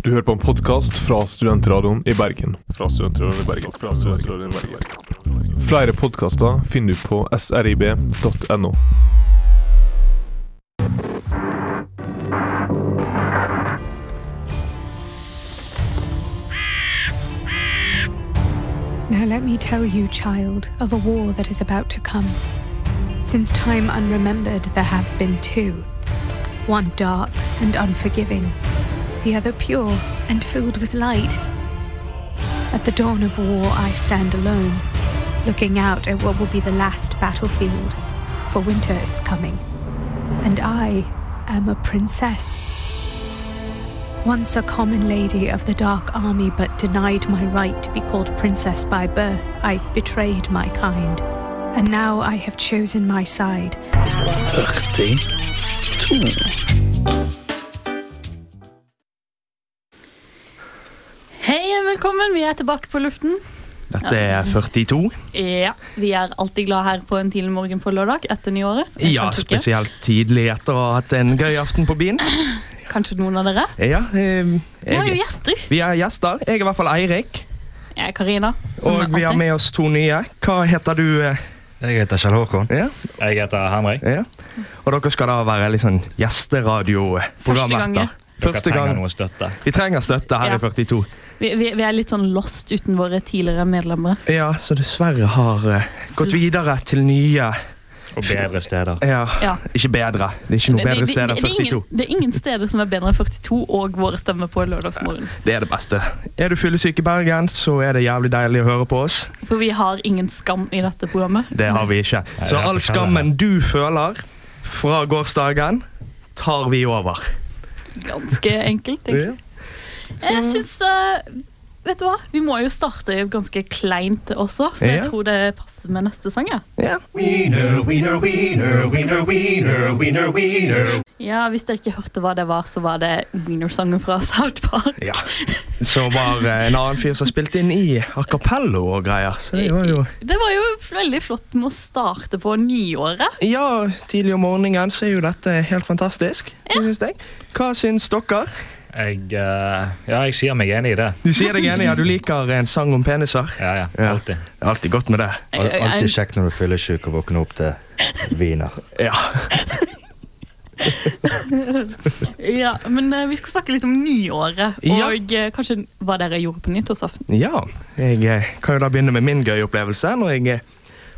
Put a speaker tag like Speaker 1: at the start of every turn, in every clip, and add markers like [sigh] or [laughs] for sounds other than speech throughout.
Speaker 1: Du hører på en podkast fra Studentradioen i Bergen.
Speaker 2: Fra studentradioen i Bergen. Fra studentradioen i Bergen.
Speaker 1: Flere podkaster finner du på srib.no.
Speaker 3: Now let me tell you, child, of a war that is about to come. Since time unremembered, there have been two one dark and unforgiving, the other pure and filled with light. At the dawn of war, I stand alone, looking out at what will be the last battlefield, for winter is coming. And I am a princess. Once a common lady of the Dark Army, but denied my right to be called princess by birth, I betrayed my kind. And now I have chosen my side.
Speaker 4: 42.
Speaker 5: Hei, velkommen. Vi er tilbake på luften.
Speaker 4: Dette er 42.
Speaker 5: Ja, Vi er alltid glad her på en tidlig morgen på lørdag etter nyåret. Eh,
Speaker 4: Ja,
Speaker 5: kanskje, ikke.
Speaker 4: spesielt tidlig etter å ha hatt en gøy aften på byen.
Speaker 5: kanskje noen av dere.
Speaker 4: Ja, eh,
Speaker 5: Vi har jo
Speaker 4: jeg,
Speaker 5: gjester.
Speaker 4: vi er gjester. Jeg er i hvert fall Eirik.
Speaker 5: Jeg er Karina. som
Speaker 4: Og vi har
Speaker 5: alltid.
Speaker 4: med oss to nye. Hva heter du? eh?
Speaker 6: Jeg heter Kjell Håkon.
Speaker 4: Ja,
Speaker 7: Jeg heter Henrik.
Speaker 4: ja. Og dere skal da være litt sånn gjesteradioprogrammerter.
Speaker 5: gangen.
Speaker 7: Dere
Speaker 4: Første
Speaker 7: trenger
Speaker 4: gang.
Speaker 7: noe støtte.
Speaker 4: Vi trenger støtte her
Speaker 5: Ja.
Speaker 4: i 42.
Speaker 5: vi, vi, vi er litt sånn lost uten våre tidligere medlemmer.
Speaker 4: Ja, så dessverre har eh, gått videre til nye
Speaker 7: Og bedre steder.
Speaker 4: Ja,
Speaker 5: Ja.
Speaker 4: ikke bedre. Det er ikke noe bedre sted enn
Speaker 5: det, er
Speaker 4: 42.
Speaker 5: ingen, det er ingen steder som er bedre enn 42 og våre stemmer på lørdagsmorgen.
Speaker 4: Det er det beste. Er du fyllesyk i Bergen, så er det jævlig deilig å høre på oss.
Speaker 5: For vi har ingen skam i dette programmet.
Speaker 4: Det har vi ikke.
Speaker 7: Nei,
Speaker 4: Så
Speaker 7: det er
Speaker 4: all
Speaker 7: forskjellig.
Speaker 4: skammen du føler fra gårsdagen, tar vi over.
Speaker 5: Ganske enkelt, egentlig. Jeg syns eh, Vet du hva? Vi må jo starte ganske kleint også, så jeg
Speaker 4: Ja.
Speaker 5: tror det passer med neste sang. Ja.
Speaker 4: Ja.
Speaker 5: Ja, Hvis dere ikke hørte hva det var, så var det Wienersangen fra South Park.
Speaker 4: ja. Så var det en annen fyr som spilte inn i a cappello og greier. Så det var jo
Speaker 5: Det var jo veldig flott med å starte på nyåret.
Speaker 4: Ja, tidlig om morgenen så er jo dette helt fantastisk. Synes jeg. Hva syns dere?
Speaker 7: Jeg, eh, ja, jeg sier meg enig i det.
Speaker 4: Du sier deg enig, ja. Du liker en sang om peniser.
Speaker 7: Ja, ja,
Speaker 4: Ja.
Speaker 7: alltid.
Speaker 4: Det er alltid godt med det.
Speaker 5: Jeg- jeg-
Speaker 6: Alltid
Speaker 5: jeg-
Speaker 6: kjekt når du fyller sjuk og våkner opp til wiener.
Speaker 4: Ja.
Speaker 5: Ja, men eh, vi skal snakke litt om nyåret,
Speaker 4: Ja.
Speaker 5: og eh, kanskje hva dere gjorde på nyttårsaften.
Speaker 4: Ja, jeg eh, kan jo da begynne med min gøye opplevelse. Når jeg eh,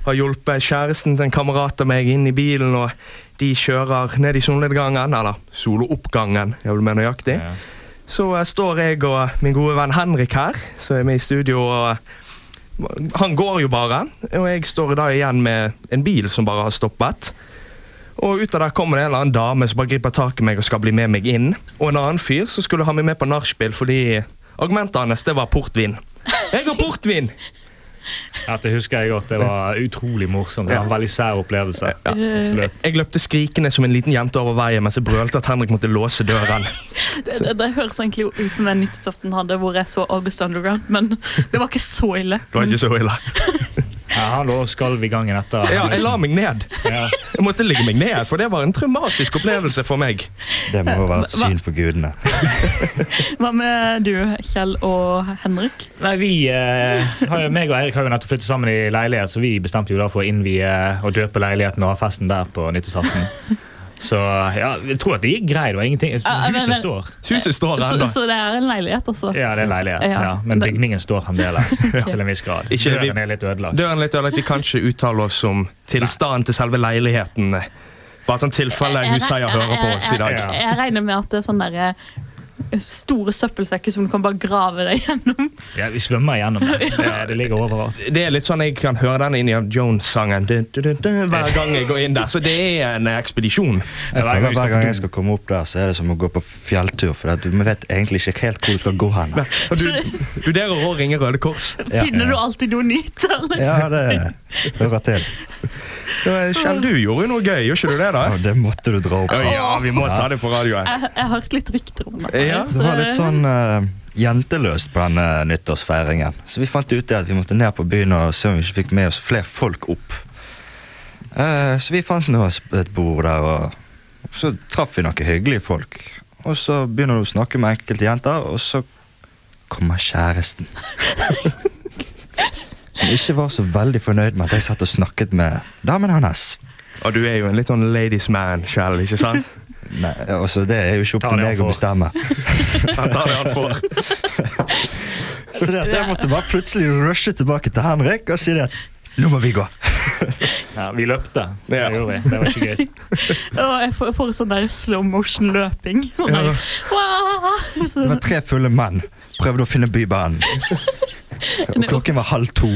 Speaker 4: har hjulpet kjæresten til en kamerat av meg inn i bilen, og de kjører ned i solnedgangen, eller soloppgangen, jeg vil mer nøyaktig,
Speaker 7: Ja.
Speaker 4: så eh, står jeg og min gode venn Henrik her, som er med i studio, og eh, han går jo bare, og jeg står da igjen med en bil som bare har stoppet. Og ut av der kommer det en eller annen dame som bare griper tak i meg og skal bli med meg inn. Og en annen fyr som skulle ha meg med på nachspiel fordi argumentet hans det var portvin. Jeg har portvin!
Speaker 7: Dette husker jeg godt. Det var utrolig morsomt. Det var En veldig sær opplevelse. Absolutt.
Speaker 4: Jeg løpte skrikende som en liten jente over veien mens jeg brølte at Henrik måtte låse døren.
Speaker 5: Det, det, det høres egentlig ut som den nyttårsaften hadde, hvor jeg så August Underground, men [laughs] det var ikke så ille.
Speaker 4: Det var ikke så ille.
Speaker 7: Ja, han lå og skalv i gangen etter.
Speaker 4: Ja, jeg la meg ned.
Speaker 7: Ja.
Speaker 4: Jeg måtte ligge meg ned, for det var en traumatisk opplevelse for meg.
Speaker 6: Det må jo være et
Speaker 5: Hva-
Speaker 6: syn for gudene.
Speaker 5: Hva med du, Kjell og Henrik?
Speaker 7: Nei, vi, eh, har jo, meg og Eirik har jo nettopp flyttet sammen i leilighet, så vi bestemte jo da for å innvie og døpe leiligheten og ha festen der på nyttårsaften. Så ja, jeg tror at det gikk greit. Det var ingenting.
Speaker 5: Ja, men-
Speaker 7: Huset står.
Speaker 4: Huset står
Speaker 5: Så,
Speaker 4: ennå.
Speaker 5: så det er en leilighet, altså?
Speaker 7: Ja, det er en leilighet.
Speaker 5: Ja.
Speaker 7: Ja. Men bygningen står fremdeles.
Speaker 5: [laughs]
Speaker 7: Til en viss grad.
Speaker 4: Ikke- vi-
Speaker 7: Døren er litt ødelagt.
Speaker 4: Døren litt ødelagt. Vi kan ikke uttale oss om tilstanden til selve leiligheten. Bare sånn tilfelle huseier hører på oss i dag.
Speaker 5: Jeg, jeg, jeg regner med at det er sånn derre store søppelsekker som du kan bare grave deg gjennom.
Speaker 7: Ja, vi svømmer gjennom
Speaker 5: [laughs]
Speaker 7: det. Det, det ligger overalt.
Speaker 4: Det er litt sånn jeg kan høre den Indiana Jones-sangen du, du, du, du, hver gang jeg går inn der. Så det er en eh, ekspedisjon.
Speaker 6: Jeg føler at Hver gang jeg skal komme opp der, så er det som å gå på fjelltur. For at du vet egentlig ikke helt hvor du skal gå hen.
Speaker 4: Og du vurderer å ringe Røde Kors.
Speaker 6: Ja.
Speaker 5: Finner du alltid noe nytt, eller?
Speaker 6: Ja, det hører til.
Speaker 4: Kjell, du gjorde jo noe gøy, gjorde ikke du det? da?
Speaker 6: Ja, det måtte du dra opp.
Speaker 4: Å,
Speaker 6: sant?
Speaker 4: Ja, vi må ta det på radioen.
Speaker 5: Jeg, jeg har hørt litt rykter om det.
Speaker 4: Ja,
Speaker 6: Det var litt sånn eh, jenteløst på denne nyttårsfeiringen. Så vi fant ut det at vi måtte ned på byen og se om vi ikke fikk med oss flere folk opp. Eh, så vi fant nå oss et bord der og Så traff vi noen hyggelige folk. Og så begynner du å snakke med enkelte jenter, og så kommer kjæresten. Som ikke var så veldig fornøyd med at jeg satt og snakket med damen hans.
Speaker 4: Og du er jo en litt sånn ladies man sjøl, ikke sant? [laughs]
Speaker 6: Nei, altså Det er jo ikke opp
Speaker 8: Ta
Speaker 6: til
Speaker 8: det han
Speaker 6: meg å
Speaker 8: får.
Speaker 6: bestemme.
Speaker 9: Han tar det han får.
Speaker 6: Så det at jeg måtte bare plutselig rushe tilbake til Henrik og si det at nå må vi gå.
Speaker 8: Ja, vi løpte.
Speaker 4: Ja.
Speaker 8: Det gjorde vi. Det var ikke gøy.
Speaker 5: Og jeg får, jeg får sånn der slow motion-løping. Sånn der. Wow! Så, sånn,
Speaker 6: Det var tre fulle menn. Prøvde å finne Bybanen. Og klokken var halv to.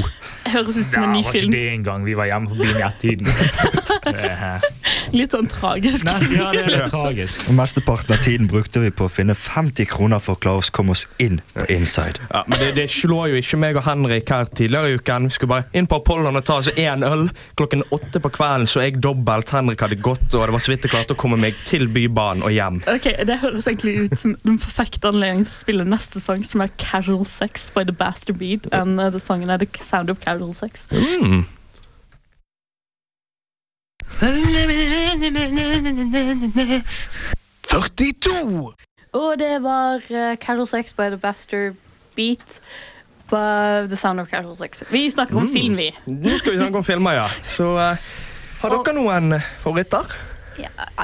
Speaker 5: jeg høres ut [laughs] som
Speaker 8: Ja,
Speaker 5: en ny
Speaker 8: var ikke
Speaker 5: film.
Speaker 8: det engang. Vi var hjemme på byen i
Speaker 5: [laughs]
Speaker 8: ett-tiden.
Speaker 5: Litt sånn tragisk.
Speaker 8: Nei, ja, det er litt tragisk.
Speaker 6: Og Mesteparten av tiden brukte vi på å finne 50 kroner for å klare oss komme oss inn på inside.
Speaker 4: Ja, men det, det slår jo ikke meg og Henrik her tidligere i uken. Vi skulle bare inn på Apollon og ta oss én øl. Klokken åtte på kvelden så jeg dobbelt. Henrik hadde gått, og det var så vidt jeg klarte å komme meg til Bybanen og hjem.
Speaker 5: Ok, Det høres egentlig ut som den perfekte anledningen til å spille neste sang, som er 'Casual Sex' by The Bastard Beat. And uh, the sangen er 'The Sound of Casual Sex'.
Speaker 4: Mm.
Speaker 5: Og det var eh, 'Casual Sex' by The Bastard Beat. By the sound of casual sex. Vi snakker
Speaker 8: Mm.
Speaker 5: om film, vi.
Speaker 4: Nå skal vi snakke om filmer, ja. Så eh, har dere noen eh, favoritter?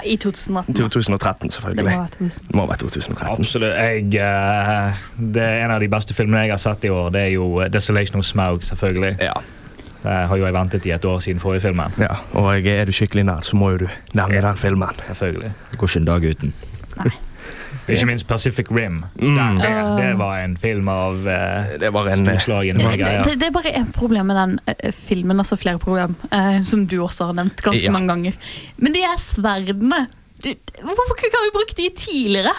Speaker 5: I 2018.
Speaker 4: 2013,
Speaker 5: Det må
Speaker 4: selvfølgelig.
Speaker 5: være 2000.
Speaker 4: Det må være 2013.
Speaker 8: Absolutt. Jeg, eh, det er en av de beste filmene jeg har sett i år. Det er jo eh, 'Desolation of Smaug', selvfølgelig.
Speaker 4: Ja,
Speaker 8: Det har jo jeg ventet i et år siden forrige filmen.
Speaker 4: ja. Og er du skikkelig nær, så må jo du nevne den filmen.
Speaker 8: Selvfølgelig.
Speaker 6: Går ikke en dag uten.
Speaker 8: Ikke minst Pacific Rim. Den, det,
Speaker 5: Ah.
Speaker 8: det var en film av eh,
Speaker 4: Mm. Det var en eh,
Speaker 8: storslagen greier.
Speaker 5: Det, det er bare ett problem med den eh, filmen, altså flere problem, eh, som du også har nevnt ganske
Speaker 4: Ja.
Speaker 5: mange ganger. Men de er sverdene. Du, hvorfor kunne ikke vi brukt de tidligere?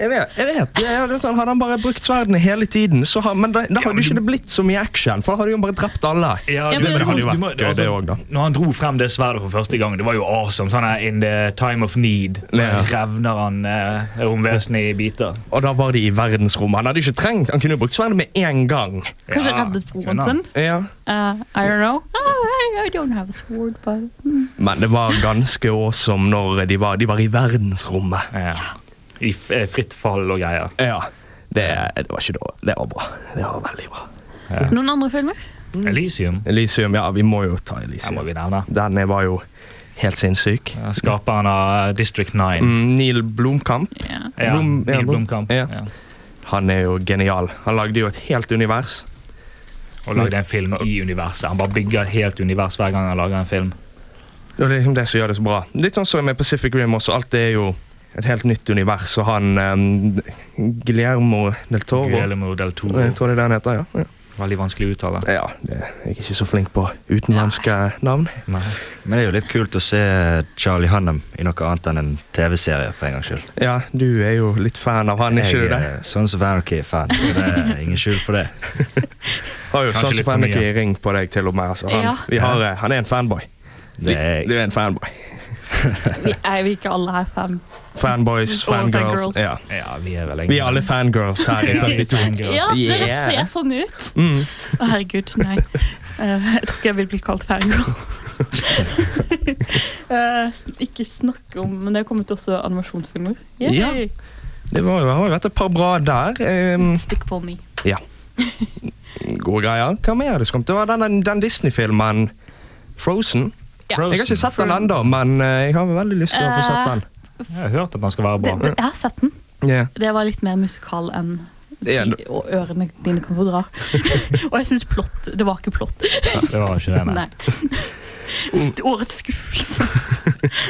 Speaker 4: Jeg vet, jeg vet. Ja, ja, det er sånn, Hadde han bare brukt sverdene hele tiden, så har, men da, da hadde jo ikke det blitt så mye action. For da hadde jo han bare drept alle.
Speaker 8: Ja,
Speaker 5: Ja,
Speaker 8: du-
Speaker 5: men det er sånn-
Speaker 8: du
Speaker 4: vært
Speaker 8: må-
Speaker 4: gøy, det også, da.
Speaker 8: Når han dro frem det sverdet for første gang, det var jo awesome. Sånn her, In the time of need.
Speaker 4: Ja.
Speaker 8: Revner han eh, romvesenet i biter.
Speaker 4: Og da var de i verdensrommet. Han hadde jo ikke trengt, han kunne jo brukt sverdet med en gang.
Speaker 5: Kanskje
Speaker 8: Ja,
Speaker 5: reddet broren
Speaker 8: kunne
Speaker 5: sin?
Speaker 8: han.
Speaker 4: Ja.
Speaker 5: Eh, I don't know. Ah, I, I don't have a sword, but
Speaker 4: Men det var ganske awesome når de var, de var i verdensrommet.
Speaker 8: Ja. I f eh, fritt fall og greier.
Speaker 4: Ja. Det, det var ikke da. Det var bra. Det var veldig bra.
Speaker 5: Noen andre filmer?
Speaker 8: Elysium
Speaker 4: Elysium, ja, vi må jo ta
Speaker 8: den må
Speaker 4: Elysium.
Speaker 8: vi nevne.
Speaker 4: Den var jo helt sinnssyk.
Speaker 8: Ja, Skaperen av eh, District 9.
Speaker 4: Mm, Neil Blomkamp.
Speaker 5: Ja.
Speaker 8: Ja,
Speaker 4: Blom- ja,
Speaker 8: Neil
Speaker 4: Blom-
Speaker 8: Blomkamp.
Speaker 4: ja.
Speaker 8: Ja.
Speaker 4: Han er jo genial. Han lagde jo et helt univers.
Speaker 8: Og lagde en film i universet. Han bare bygger et helt univers hver gang han lager en film.
Speaker 4: Det er liksom det som gjør det så bra. Litt sånn som med Pacific Rim også. Alt er jo et helt nytt univers, og han um, Guillermo del Toro
Speaker 8: Guillermo del
Speaker 4: Jeg
Speaker 8: Toro.
Speaker 4: tror det er det han heter, ja. ja.
Speaker 8: Veldig vanskelig å uttale.
Speaker 4: Ja, det, jeg er ikke så flink på utenlandske navn.
Speaker 8: Nei.
Speaker 6: Men det er jo litt kult å se Charlie Hunnam i noe annet enn en TV-serie. for en gangs skyld.
Speaker 4: Ja, du er jo litt fan av han, ikke
Speaker 6: Jeg
Speaker 4: du det?
Speaker 6: er Sons of Anarchy-fan, så det er ingen skyld for det.
Speaker 4: Har jo
Speaker 8: kanskje
Speaker 4: Sons
Speaker 8: litt
Speaker 4: of
Speaker 8: for
Speaker 4: Anarchy
Speaker 8: mye.
Speaker 4: ring på deg til og med. Altså, han,
Speaker 5: Ja.
Speaker 4: vi har, eh, han er en fanboy.
Speaker 6: [laughs] Det er
Speaker 4: Du
Speaker 6: jeg.
Speaker 4: er en fanboy.
Speaker 5: Vi er vi ikke alle her fem.
Speaker 4: Fanboys,
Speaker 5: Og
Speaker 4: fangirls.
Speaker 5: fangirls.
Speaker 4: Ja.
Speaker 8: Ja, vi er vel egentlig
Speaker 4: Vi er alle fangirls her i
Speaker 8: [laughs] Ja,
Speaker 4: 42.
Speaker 5: Ja, dere
Speaker 4: Yeah.
Speaker 5: ser sånn ut!
Speaker 4: Mm.
Speaker 5: Å, herregud, nei. Eh, jeg tror ikke jeg vil bli kalt fangirl. Eh, s- ikke snakke om Men det er kommet også animasjonsfilmer. Yay.
Speaker 4: Det var jo- har jo vært et par bra der. ehm,
Speaker 5: Spick på me. [laughs]
Speaker 4: Gode greier. Hva mer er det som kom? Det var den, den, den Disney-filmen
Speaker 5: Ja. Eh.
Speaker 4: Frozen. Jeg har ikke sett den ennå, men eh, jeg har veldig lyst til å få sett den.
Speaker 8: Jeg har hørt at han skal være
Speaker 5: Det,
Speaker 8: bra.
Speaker 5: det, jeg har sett den.
Speaker 4: Ja.
Speaker 5: Det var litt mer musikal enn de,
Speaker 4: Ja, det-
Speaker 5: og ørene dine kan få dra. og jeg syns plott Det var ikke plott.
Speaker 8: Det var ikke det,
Speaker 5: [laughs]
Speaker 8: nei.
Speaker 5: Nei. St- Årets skuffelse.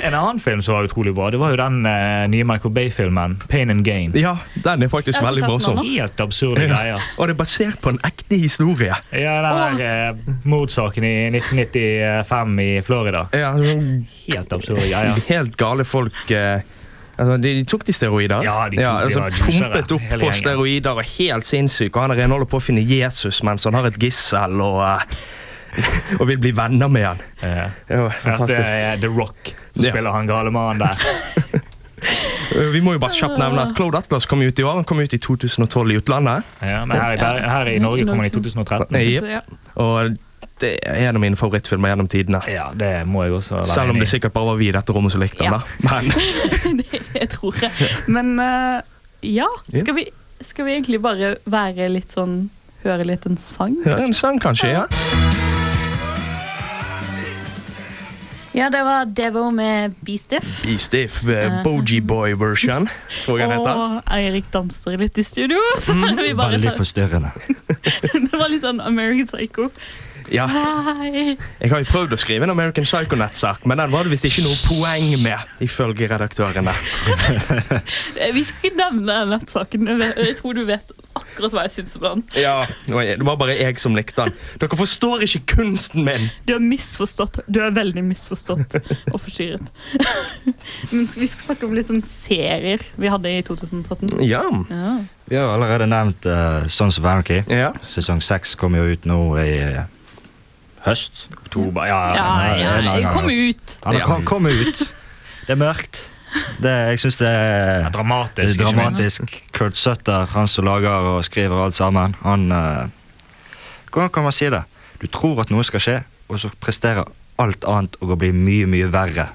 Speaker 8: En annen film som var utrolig bra, det var jo den eh, nye Michael Bay-filmen. Pain and Gain.
Speaker 4: ja, den er faktisk
Speaker 5: Jeg har
Speaker 4: veldig
Speaker 5: sett den
Speaker 4: morsom.
Speaker 5: også.
Speaker 8: Helt absurde greier.
Speaker 4: Og det er basert på en ekte historie.
Speaker 8: Ja, den der eh, mordsaken i 1995 i Florida.
Speaker 4: Ja, sånn
Speaker 8: Helt absurde
Speaker 4: [laughs]
Speaker 8: greier.
Speaker 4: Helt gale folk eh, altså, de, de tok de steroider.
Speaker 8: Ja, de tok- de
Speaker 4: altså,
Speaker 8: var juicere,
Speaker 4: Pumpet opp
Speaker 8: hele
Speaker 4: på
Speaker 8: gjengen.
Speaker 4: steroider og helt sinnssyk. Og han er rene holder på å finne Jesus mens han har et gissel og, eh, [laughs] og vil bli venner med han.
Speaker 8: Eh,
Speaker 4: Det var
Speaker 8: at det
Speaker 4: fantastisk.
Speaker 7: eh,
Speaker 8: er The Rock som
Speaker 4: Ja.
Speaker 8: spiller han gale mannen der.
Speaker 4: Eh, Vi må jo bare kjapt nevne at Cloud Atlas kom ut i år. Han kom ut i 2012 i utlandet.
Speaker 8: Ja, men her i, Ber- her i Norge kom han i 2013.
Speaker 4: Nei,
Speaker 5: Så, ja.
Speaker 4: Og det er en av mine favorittfilmer gjennom tidene.
Speaker 7: Ja, det må jeg også være
Speaker 4: Selv om
Speaker 7: enig
Speaker 4: det
Speaker 7: i.
Speaker 4: sikkert bare var vi i dette rommet som likte den.
Speaker 5: Ja.
Speaker 4: da. Men
Speaker 5: [laughs] det, det tror jeg. Men eh, ja, skal vi, skal vi egentlig bare være litt sånn Høre litt en sang?
Speaker 4: ja, en sang, kanskje. ja.
Speaker 5: Ja, det var Devo med Beastiff.
Speaker 4: Beastiff, uh, Bogie Boy-version, tror jeg den heter.
Speaker 5: Og Eirik danser litt i studio. [laughs] Så vi bare
Speaker 6: Veldig forstyrrende.
Speaker 5: [laughs] det var litt sånn American Psycho.
Speaker 4: Ja,
Speaker 5: Hei.
Speaker 4: jeg har jo prøvd å skrive en American Psychonaut-sak, men den var det visst ikke noe poeng med, ifølge redaktørene.
Speaker 5: Eh, Vi skal ikke nevne den nettsaken. Jeg vet- Jeg tror du vet akkurat hva jeg syns om den.
Speaker 4: Ja, og jeg- Det var bare jeg som likte den. Dere forstår ikke kunsten min!
Speaker 5: Du er misforstått. Du er veldig misforstått og forstyrret. [laughs] Men skal- vi skal snakke om litt om serier vi hadde i 2013.
Speaker 4: Ja.
Speaker 5: Ja.
Speaker 6: Vi har allerede nevnt uh, Sons of Anarchy.
Speaker 4: ja.
Speaker 6: Sesong seks kommer jo ut nå i eh, høst.
Speaker 7: Oktober, ja,
Speaker 5: Ja,
Speaker 6: nei,
Speaker 5: ja,
Speaker 6: nei, nei, nei.
Speaker 5: kom ut!
Speaker 6: Han
Speaker 4: Ja.
Speaker 6: kom, kom ut. Det er mørkt. Det, jeg syns det
Speaker 7: ja.
Speaker 6: er
Speaker 7: Dramatisk.
Speaker 6: Det er
Speaker 7: ikke minst.
Speaker 6: dramatisk. Kurt Sutter, han som lager og skriver alt sammen, han eh, Hvordan kan man si det? Du tror at noe skal skje, og så presterer alt annet og blir mye, mye verre.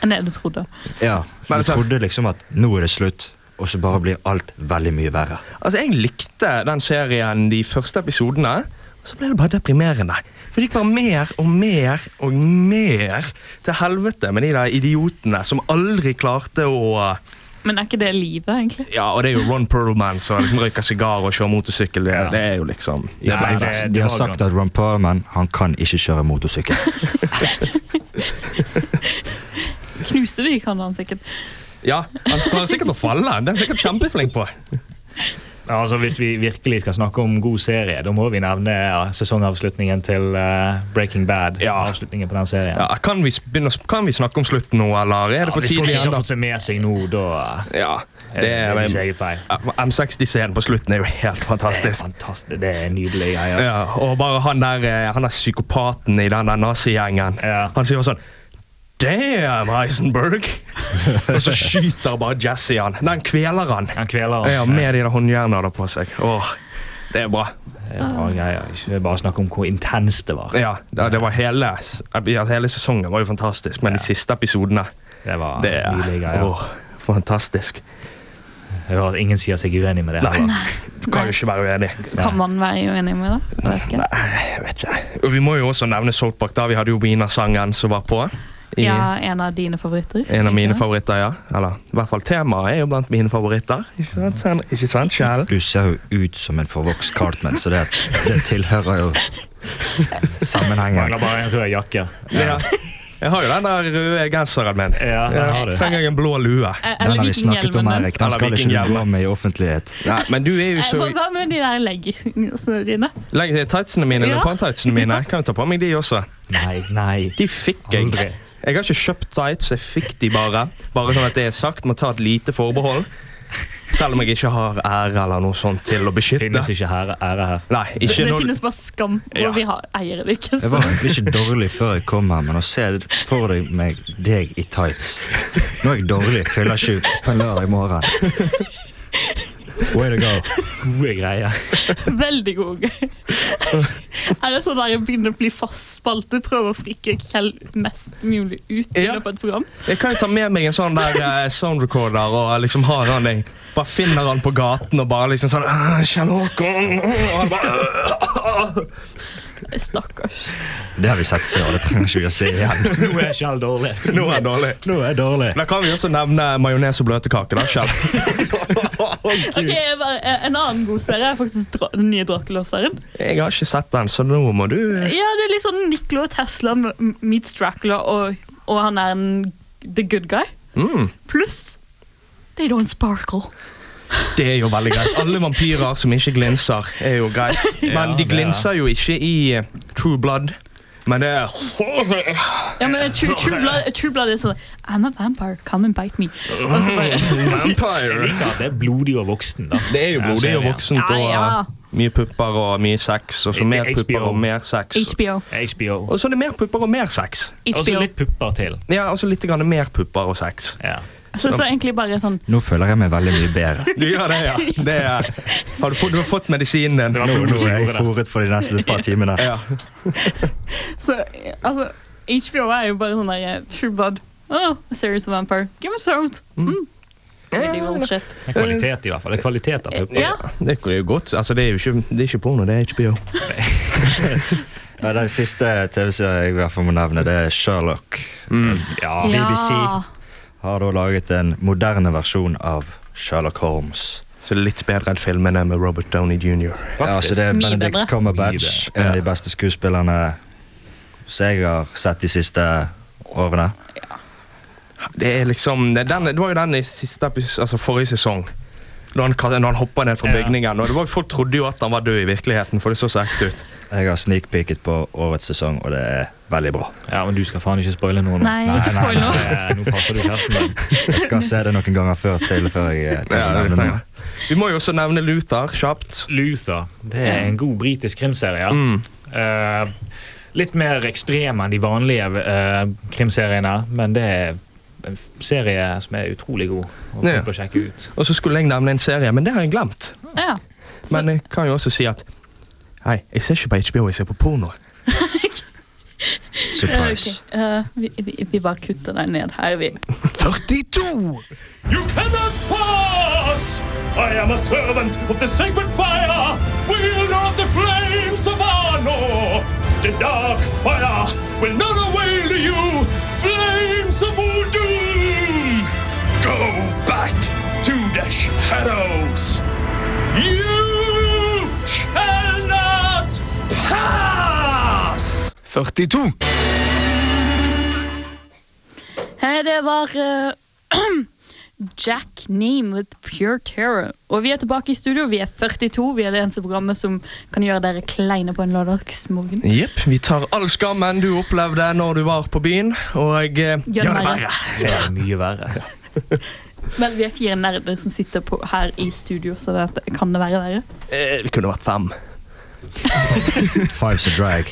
Speaker 5: Enn det du trodde.
Speaker 6: Ja,
Speaker 4: Men
Speaker 6: så Du
Speaker 7: altså-
Speaker 4: så-
Speaker 6: trodde liksom at nå er det slutt, og så bare blir alt veldig mye verre.
Speaker 4: Altså, Jeg likte den serien de første episodene, og så ble det bare deprimerende. For det gikk bare mer og mer og mer til helvete med de der idiotene som aldri klarte å
Speaker 5: Men er ikke det livet, egentlig?
Speaker 4: Ja, og det er jo Ron Perlman som liksom røyker sigar og kjører motorsykkel. Det, det er jo liksom
Speaker 7: Ja,
Speaker 6: For
Speaker 7: nei,
Speaker 6: de,
Speaker 7: det-
Speaker 6: altså, de
Speaker 7: det
Speaker 6: har
Speaker 7: har
Speaker 6: sagt
Speaker 7: du.
Speaker 6: at Ron Perman han kan ikke kjøre motorsykkel.
Speaker 5: Knuse de kan han sikkert.
Speaker 4: Ja, Han klarer sikkert å falle. Det er han sikkert kjempeflink på.
Speaker 7: Ja, altså, hvis vi virkelig skal snakke om god serie, da må vi nevne ja, sesongavslutningen til eh, Breaking Bad.
Speaker 4: Ja.
Speaker 7: Avslutningen på den serien.
Speaker 4: Ja, kan, vi s- begynne, å s- kan vi snakke om slutten nå, eller er det for
Speaker 7: hvis folk
Speaker 4: tidlig
Speaker 7: ikke
Speaker 4: ennå?
Speaker 7: har fått seg med seg nå, da eh,
Speaker 4: Ja,
Speaker 7: er
Speaker 4: det
Speaker 7: det deres
Speaker 4: er
Speaker 7: egen feil.
Speaker 4: M60-scenen på slutten er jo helt
Speaker 7: Det er
Speaker 4: fantastisk.
Speaker 7: fantastisk. Det er nydelig greier.
Speaker 4: Ja, og bare han der, eh, han der psykopaten i den der nazigjengen.
Speaker 7: Ja.
Speaker 4: Han sier sånn Damn,
Speaker 7: [laughs]
Speaker 4: Heisenberg! og så skyter bare Jesse han. Den kveler han.
Speaker 7: Han kveler
Speaker 4: Ja,
Speaker 7: han.
Speaker 4: med de der håndjernene da på seg. Åh, det er bra.
Speaker 7: Det er eh, bra greier. Ikke bare snakke om hvor intenst det var.
Speaker 4: Ja, det det var hele, ja, hele sesongen var jo fantastisk, men de siste episodene,
Speaker 7: Det var
Speaker 4: det er
Speaker 7: nydelige greier.
Speaker 4: åh, fantastisk.
Speaker 7: Jeg hører at ingen sier seg uenig med det.
Speaker 4: Nei,
Speaker 7: heller.
Speaker 4: du kan jo ikke være uenig.
Speaker 5: Kan man være uenig med det? Jeg vet ikke.
Speaker 4: Jeg vet ikke. Og vi må jo også nevne Salt Park da. Vi hadde jo Wiener-sangen som var på. i-
Speaker 5: Ja, en av dine favoritter.
Speaker 4: En av mine
Speaker 5: tenker jeg.
Speaker 4: favoritter, ja. Eller i hvert fall temaet er jo blant mine favoritter. Ikke sant, Sen- ikke sant Kjell?
Speaker 6: Du ser jo ut som en forvokst Cartman, så det, det tilhører jo sammenhengen.
Speaker 7: Mangler bare en rød jakke.
Speaker 4: Ja. Jeg har jo den der røde genseren min.
Speaker 7: Ja, det har du.
Speaker 4: Trenger jeg en blå lue?
Speaker 5: Eh,
Speaker 6: Den
Speaker 5: Eller
Speaker 6: har vi snakket om,
Speaker 5: vikinghjelmen.
Speaker 6: Erik. Den
Speaker 4: Eller
Speaker 6: skal ikke du gå
Speaker 4: vikinghjelmen.
Speaker 6: med i offentlighet.
Speaker 4: Nei, men du er jo
Speaker 5: Eh,
Speaker 4: så
Speaker 5: Hva hva med de der leggingene dine?
Speaker 4: Legg til tightsene mine,
Speaker 5: Ja.
Speaker 4: leopardtightsene mine. Kan jo ta på meg de også.
Speaker 7: Nei, nei.
Speaker 4: De fikk jeg.
Speaker 7: Aldri.
Speaker 4: Jeg har ikke kjøpt tights, jeg fikk de bare. Bare sånn at det er sagt, må ta et lite forbehold. Selv om jeg ikke har ære eller noe sånt til å beskytte.
Speaker 7: Finnes ikke her, ære her.
Speaker 4: Nei,
Speaker 5: Det,
Speaker 4: ikke
Speaker 5: det
Speaker 4: noe
Speaker 5: finnes bare skam, og
Speaker 4: Ja.
Speaker 5: vi har, eier det ikke. Så.
Speaker 6: Jeg var egentlig ikke dårlig før jeg kom her, men å se for deg meg deg i tights Nå er jeg dårlig fyllesyk på en lørdag morgen. Way to go.
Speaker 7: Gode [laughs] greier.
Speaker 5: Veldig god. er det sånn der jeg begynner å bli fastspaltet? Prøver å frikke Kjell mest mulig ut i
Speaker 4: Ja.
Speaker 5: løpet av et program?
Speaker 4: Jeg kan jo ta med meg en sånn der eh, sound recorder og liksom ha den jeg bare finner han på gaten og bare liksom sånn «Øh, Kjell Håkon øh», og han bare, «Øh».
Speaker 5: Stakkars.
Speaker 6: Det har vi sett før, det trenger ikke vi å se igjen.
Speaker 7: Nå er jeg selv dårlig.
Speaker 4: Nå er han dårlig.
Speaker 6: Nå er jeg dårlig.
Speaker 4: Da kan vi også nevne majones og bløtkake, da, Kjell.
Speaker 5: Ok, jeg bare, eh, En annen god serie er faktisk dra den nye Dracula-serien.
Speaker 4: Jeg har ikke sett den, så nå må du
Speaker 5: Ja, det er litt sånn Nikola Tesla m- meets Dracula, og, og han er en the good guy.
Speaker 4: mm.
Speaker 5: Pluss They don't sparkle.
Speaker 4: Det er jo veldig greit. Alle vampyrer som ikke glinser, er jo greit.
Speaker 7: [laughs] Ja,
Speaker 4: Men de
Speaker 7: det er-
Speaker 4: glinser jo ikke i eh, True Blood. Men det er
Speaker 5: Ja, men [laughs] True, true, blood, true blood er sånn I'm a vampire, come and bite me. Og så bare,
Speaker 7: Jeg
Speaker 4: Vampire.
Speaker 7: liker at det er blodig og voksen, da.
Speaker 4: Det er jo blodig og voksent og
Speaker 5: Ja, ja.
Speaker 4: eh, mye pupper og mye sex, og så mer
Speaker 7: HBO.
Speaker 4: pupper og mer sex.
Speaker 5: HBO.
Speaker 7: HBO.
Speaker 4: Og så er det mer pupper og mer sex.
Speaker 7: Og så
Speaker 5: HBO.
Speaker 7: litt pupper til.
Speaker 4: Ja, altså litt grann mer pupper og sex.
Speaker 7: Ja.
Speaker 5: Så, så egentlig bare sånn
Speaker 6: Nå føler jeg meg veldig mye bedre.
Speaker 4: Du gjør det, ja. Det er, har du, fått, du har fått medisinen din.
Speaker 7: var
Speaker 6: Nå,
Speaker 7: blodet
Speaker 6: nå
Speaker 7: som
Speaker 6: er jeg
Speaker 7: gjorde det.
Speaker 6: fôret for de neste par timene.
Speaker 4: Ja.
Speaker 5: Så eh, altså, HBO er jo bare sånn der eh, True Blood. Oh, a series of vampire. Game of Thrones. Mm. Medieval shit. Eh,
Speaker 7: Det er kvalitet, i hvert fall. Det er kvalitet av puppen.
Speaker 5: Ja,
Speaker 4: Det er jo godt. Altså, det er jo ikke, det er ikke porno, det er HBO.
Speaker 6: Ja, den siste TV-serien jeg i hvert fall må nevne, det er Sherlock.
Speaker 7: Ja.
Speaker 6: BBC.
Speaker 5: Ja.
Speaker 6: Har da laget en moderne versjon av Sherlock Holmes.
Speaker 4: Så det er litt bedre enn filmene med Robert Downey jr.
Speaker 6: Ja, så det er
Speaker 5: Mye
Speaker 6: Benedict
Speaker 5: bedre.
Speaker 6: Cumberbatch,
Speaker 7: Mye
Speaker 6: en av de beste skuespillerne som jeg har sett de siste årene.
Speaker 4: Det er liksom, det, er den, det var jo den i siste epis- altså forrige sesong. Da han, ka- når han hoppa ned fra
Speaker 7: Ja.
Speaker 4: bygningen. og det var, Folk trodde jo at han var død i virkeligheten, for det så så ekte ut.
Speaker 6: Jeg har sneakpeeket på årets sesong, og det er veldig bra.
Speaker 7: ja, men du skal faen ikke spoile noe nå.
Speaker 5: Nei, ikke spoil noe. [laughs]
Speaker 7: nei, Nå passer du kjeften din.
Speaker 6: Jeg skal se det noen ganger før til før jeg eh, tør å nevne noe.
Speaker 4: Vi må jo også nevne Luther kjapt.
Speaker 7: Luther. Det er en god britisk krimserie. Eh, litt mer ekstrem enn de vanlige eh, krimseriene, men det er en f- serie som er utrolig god. Og
Speaker 4: Ja.
Speaker 7: folk bør sjekke ut.
Speaker 4: Og så skulle jeg nevne en serie, men det har jeg glemt.
Speaker 5: ja. Så-
Speaker 4: Men jeg kan jo også si at Hei, jeg ser ikke på HBO, jeg ser på porno.
Speaker 6: Surprise.
Speaker 5: Ok, eh, vi, vi, vi bare kutter deg ned her, vi.
Speaker 1: 42!
Speaker 10: You cannot pass! I am a servant of the sacred fire, wielder of the flames of Arno! The dark fire will not avail to you, flames of Udum! Go back to the shadows! You shall not pass!
Speaker 1: 42!
Speaker 5: Hei, det var eh, [clears throat] Jack Name with Pure Terror. Og vi er tilbake i studio. Vi er 42. Vi er det eneste programmet som kan gjøre dere kleine på en lørdagsmorgen.
Speaker 4: Jepp, vi tar all skammen du opplevde når du var på byen, og eh,
Speaker 5: Gjør det verre.
Speaker 7: Det er mye verre.
Speaker 5: Vel, vi er fire nerder som sitter på, her i studio, så det at- kan det være verre.
Speaker 4: eh, Vi kunne vært fem.
Speaker 6: Fives a drag.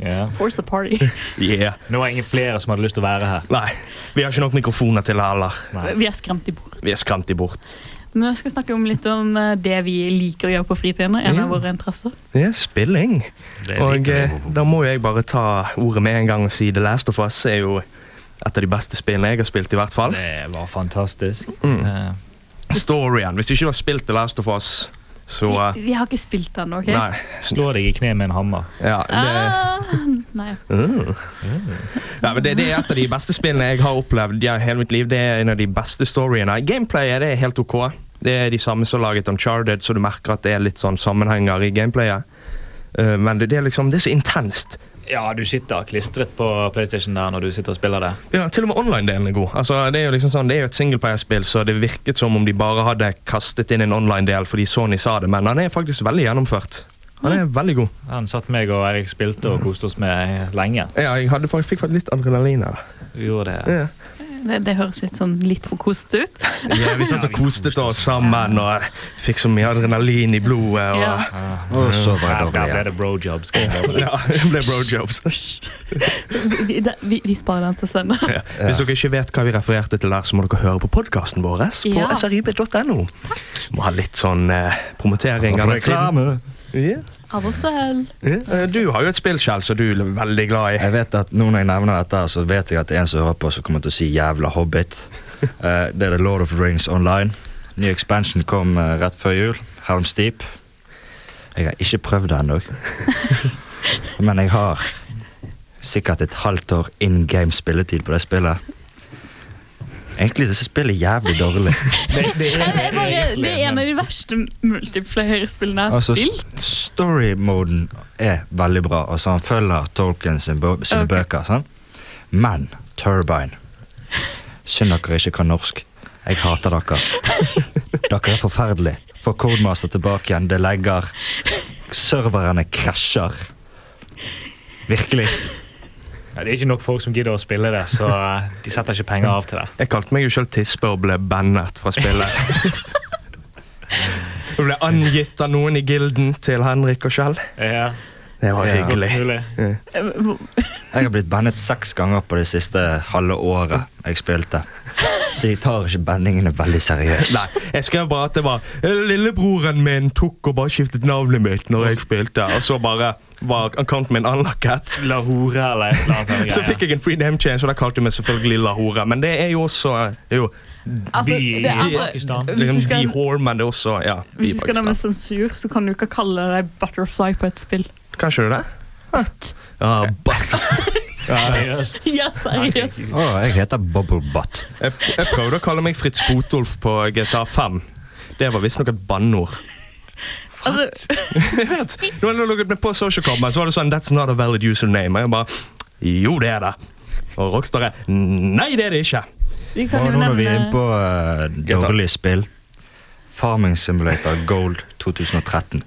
Speaker 7: Ja.
Speaker 5: Force a [laughs] party.
Speaker 4: Yeah.
Speaker 7: Nå er det ingen flere som hadde lyst til å være her.
Speaker 4: Nei, vi har ikke nok mikrofoner til det heller.
Speaker 5: Vi er skremt i bord.
Speaker 4: Vi er skremt de bort.
Speaker 5: Men vi skal snakke om litt om eh, det vi liker å gjøre på fritiden. En av
Speaker 4: Ja.
Speaker 5: våre interesser.
Speaker 4: Det er spilling. Og eh, da må jo jeg bare ta ordet med en gang og si The Last of Us er jo et av de beste spillene jeg har spilt, i hvert fall. Mm.
Speaker 7: Det var fantastisk. Eh,
Speaker 4: Storyen. Hvis du ikke har spilt The Last of Us, så eh,
Speaker 5: Vi, vi har ikke spilt den, OK?
Speaker 4: Nei.
Speaker 7: Slå deg i kne med en hammer.
Speaker 4: Ja, det,
Speaker 5: Ah, nei.
Speaker 4: nei, men det, det er et av de beste spillene jeg har opplevd i hele mitt liv. Det er en av de beste storyene. Gameplayet det er helt OK. Det er de samme som laget Uncharted, så du merker at det er litt sånn sammenhenger i gameplayet. Eh, men det, det er liksom, det er så intenst.
Speaker 7: Ja, du sitter klistret på PlayStation der når du sitter og spiller det.
Speaker 4: Ja, til og med online-delen er god. Altså, det er jo liksom sånn, det er jo et singleplayer-spill, så det virket som om de bare hadde kastet inn en online-del fordi Sony sa det, men han er faktisk veldig gjennomført. Han er veldig god.
Speaker 7: Han satt meg og Erik spilte og koste oss med lenge.
Speaker 4: Ja, jeg hadde, fakt- fikk faktisk litt adrenalin av det.
Speaker 7: Vi gjorde det.
Speaker 4: Ja.
Speaker 5: Det, det høres litt sånn litt for kosete ut.
Speaker 4: Ja, vi satt og koste oss sammen og fikk så mye adrenalin i blodet. Og,
Speaker 5: Ja.
Speaker 6: Og så
Speaker 7: Der
Speaker 6: var
Speaker 7: der
Speaker 6: jeg dårlig
Speaker 7: ble
Speaker 6: igjen.
Speaker 7: det brojobs. skal jeg bare si.
Speaker 4: [laughs] ja, det ble brojobs.
Speaker 5: Vi, det- vi, vi sparer den til senere.
Speaker 4: Ja. Hvis dere ikke vet hva vi refererte til der, så må dere høre på podkasten vår eh, på
Speaker 5: Ja.
Speaker 4: srib.no. Må ha litt sånn eh, promotering. av den siden.
Speaker 6: Reklame!
Speaker 4: Ja.
Speaker 5: Av oss selv.
Speaker 4: Ja. Eh, Du har jo et spill, Kjell, som du er veldig glad i.
Speaker 6: Jeg vet at nå når jeg nevner dette, så vet jeg at det er en som hører på som kommer til å si 'jævla hobbit'. Eh, det er The Lord of the Rings Online. Ny expansion kom eh, rett før jul. Helms Deep. Jeg har ikke prøvd det ennå. Men jeg har sikkert et halvt år in game spilletid på det spillet. Egentlig er spillet jævlig dårlig.
Speaker 5: Det er, bare, det er en av de verste multiplayer-spillene jeg har
Speaker 6: Altså,
Speaker 5: spilt.
Speaker 6: s- Story-moden er veldig bra. Altså, han følger Tolkien sin bo- sine
Speaker 5: Ok.
Speaker 6: bøker. Sant? Men Turbine Synd dere ikke kan norsk. Jeg
Speaker 5: [laughs]
Speaker 6: hater dere. Dere er forferdelige. Få Codemaster tilbake igjen. Det legger Serverne krasjer. Virkelig.
Speaker 7: Ja, det er ikke nok folk som gidder å spille det, så eh, de setter ikke penger av til det.
Speaker 4: Jeg kalte meg jo selv tispe og ble bannet fra spillet. [laughs] Jeg ble angitt av noen i gilden til Henrik og Kjell.
Speaker 7: Ja,
Speaker 4: Det var
Speaker 6: Ja.
Speaker 4: hyggelig.
Speaker 7: mulig.
Speaker 6: Jeg har blitt bannet seks ganger på det siste halve året jeg spilte. så de tar ikke bendingene veldig seriøst.
Speaker 4: Nei, jeg skrev bare at det var eh, Lillebroren min tok og bare skiftet navnet mitt når jeg spilte, og så bare var accounten min unlocket.
Speaker 7: La hore eller et eller annet. sånn
Speaker 4: Så
Speaker 7: greie.
Speaker 4: fikk jeg en free name change, og da kalte de meg selvfølgelig La Hora. Men det er jo også jo,
Speaker 5: Altså,
Speaker 7: By-
Speaker 5: det, er altså,
Speaker 7: Pakistan.
Speaker 5: hvis
Speaker 4: liksom
Speaker 5: du skal,
Speaker 4: B-whore, men det er også ja,
Speaker 5: hvis du skal ha med
Speaker 4: Pakistan.
Speaker 5: sensur, så kan du ikke kalle deg butterfly på
Speaker 7: [laughs]
Speaker 5: et spill.
Speaker 4: Kanskje det? Ah, but.
Speaker 7: Seriøst.
Speaker 5: Ja, seriøst.
Speaker 6: Å, jeg heter Bobblebutt.
Speaker 4: Jeg, jeg prøvde å kalle meg Fritz Botolf på GTA 5. Det var visstnok et banneord. [laughs]
Speaker 5: Altså,
Speaker 4: Jeg vet. Når jeg logget meg på Social Club, så var det sånn That's not a valid username. Og jeg bare Jo, det er det. Og Rockstar er Nei, det er det ikke.
Speaker 5: vi
Speaker 6: Og
Speaker 5: kan jo
Speaker 6: nå når vi er inne
Speaker 5: nevne
Speaker 6: på uh, dårlige spill Farming Simulator Gold 2013.